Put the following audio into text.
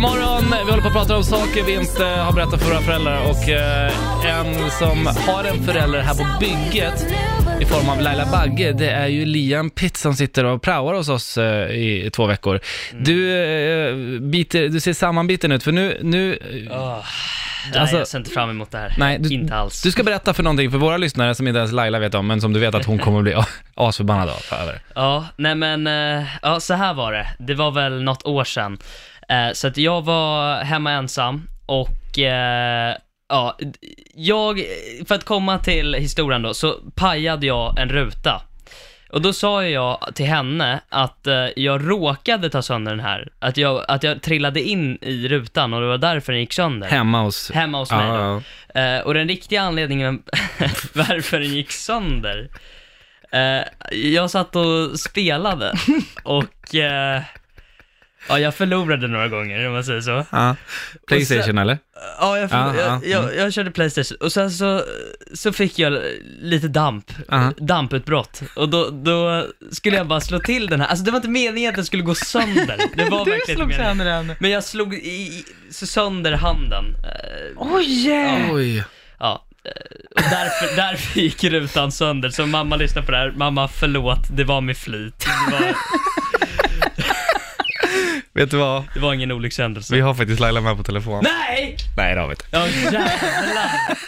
vi håller på att prata om saker vi inte har berättat för våra föräldrar och eh, en som har en förälder här på bygget i form av Laila Bagge, det är ju Liam Pitt som sitter och praoar hos oss eh, i två veckor. Du, eh, biter, du ser sammanbiten ut för nu, nu Åh, nej, Alltså- jag ser inte fram emot det här. Nej, du, inte alls. du ska berätta för någonting för våra lyssnare som inte ens Laila vet om, men som du vet att hon kommer bli asförbannad av. över. Ja, nej men, eh, ja så här var det. Det var väl något år sedan. Eh, Så att jag var hemma ensam och, eh, ja, d- jag, för att komma till historien då, så pajade jag en ruta. Och då sa jag till henne att eh, jag råkade ta sönder den här, att jag, att jag trillade in i rutan och det var därför den gick sönder. Hemma hos... Hemma hos mig då. Ja, Eh, och den riktiga anledningen varför den gick sönder, eh, jag satt och spelade och eh, ja, jag förlorade några gånger om man säger så. ja. Playstation eller? Ja, jag, förlor- Ja, mm. ja, jag, jag, jag körde Playstation och sen så, så fick jag lite damp, Aha. damputbrott och då, då skulle jag bara slå till den här, alltså det var inte meningen att den skulle gå sönder. Det var verkligen inte meningen. den. Men jag slog i, i, sönder handen. Eh, Oj! Yeah. Oj. Ja, eh, och därför, därför gick rutan sönder. Så mamma lyssnar på det här. Mamma, förlåt, det var med flit. Det var, Vet du vad? det var ingen olyckshändelse. Vi har faktiskt Laila med på telefon. Nej! Nej, det har vi inte. Ja, jävlar.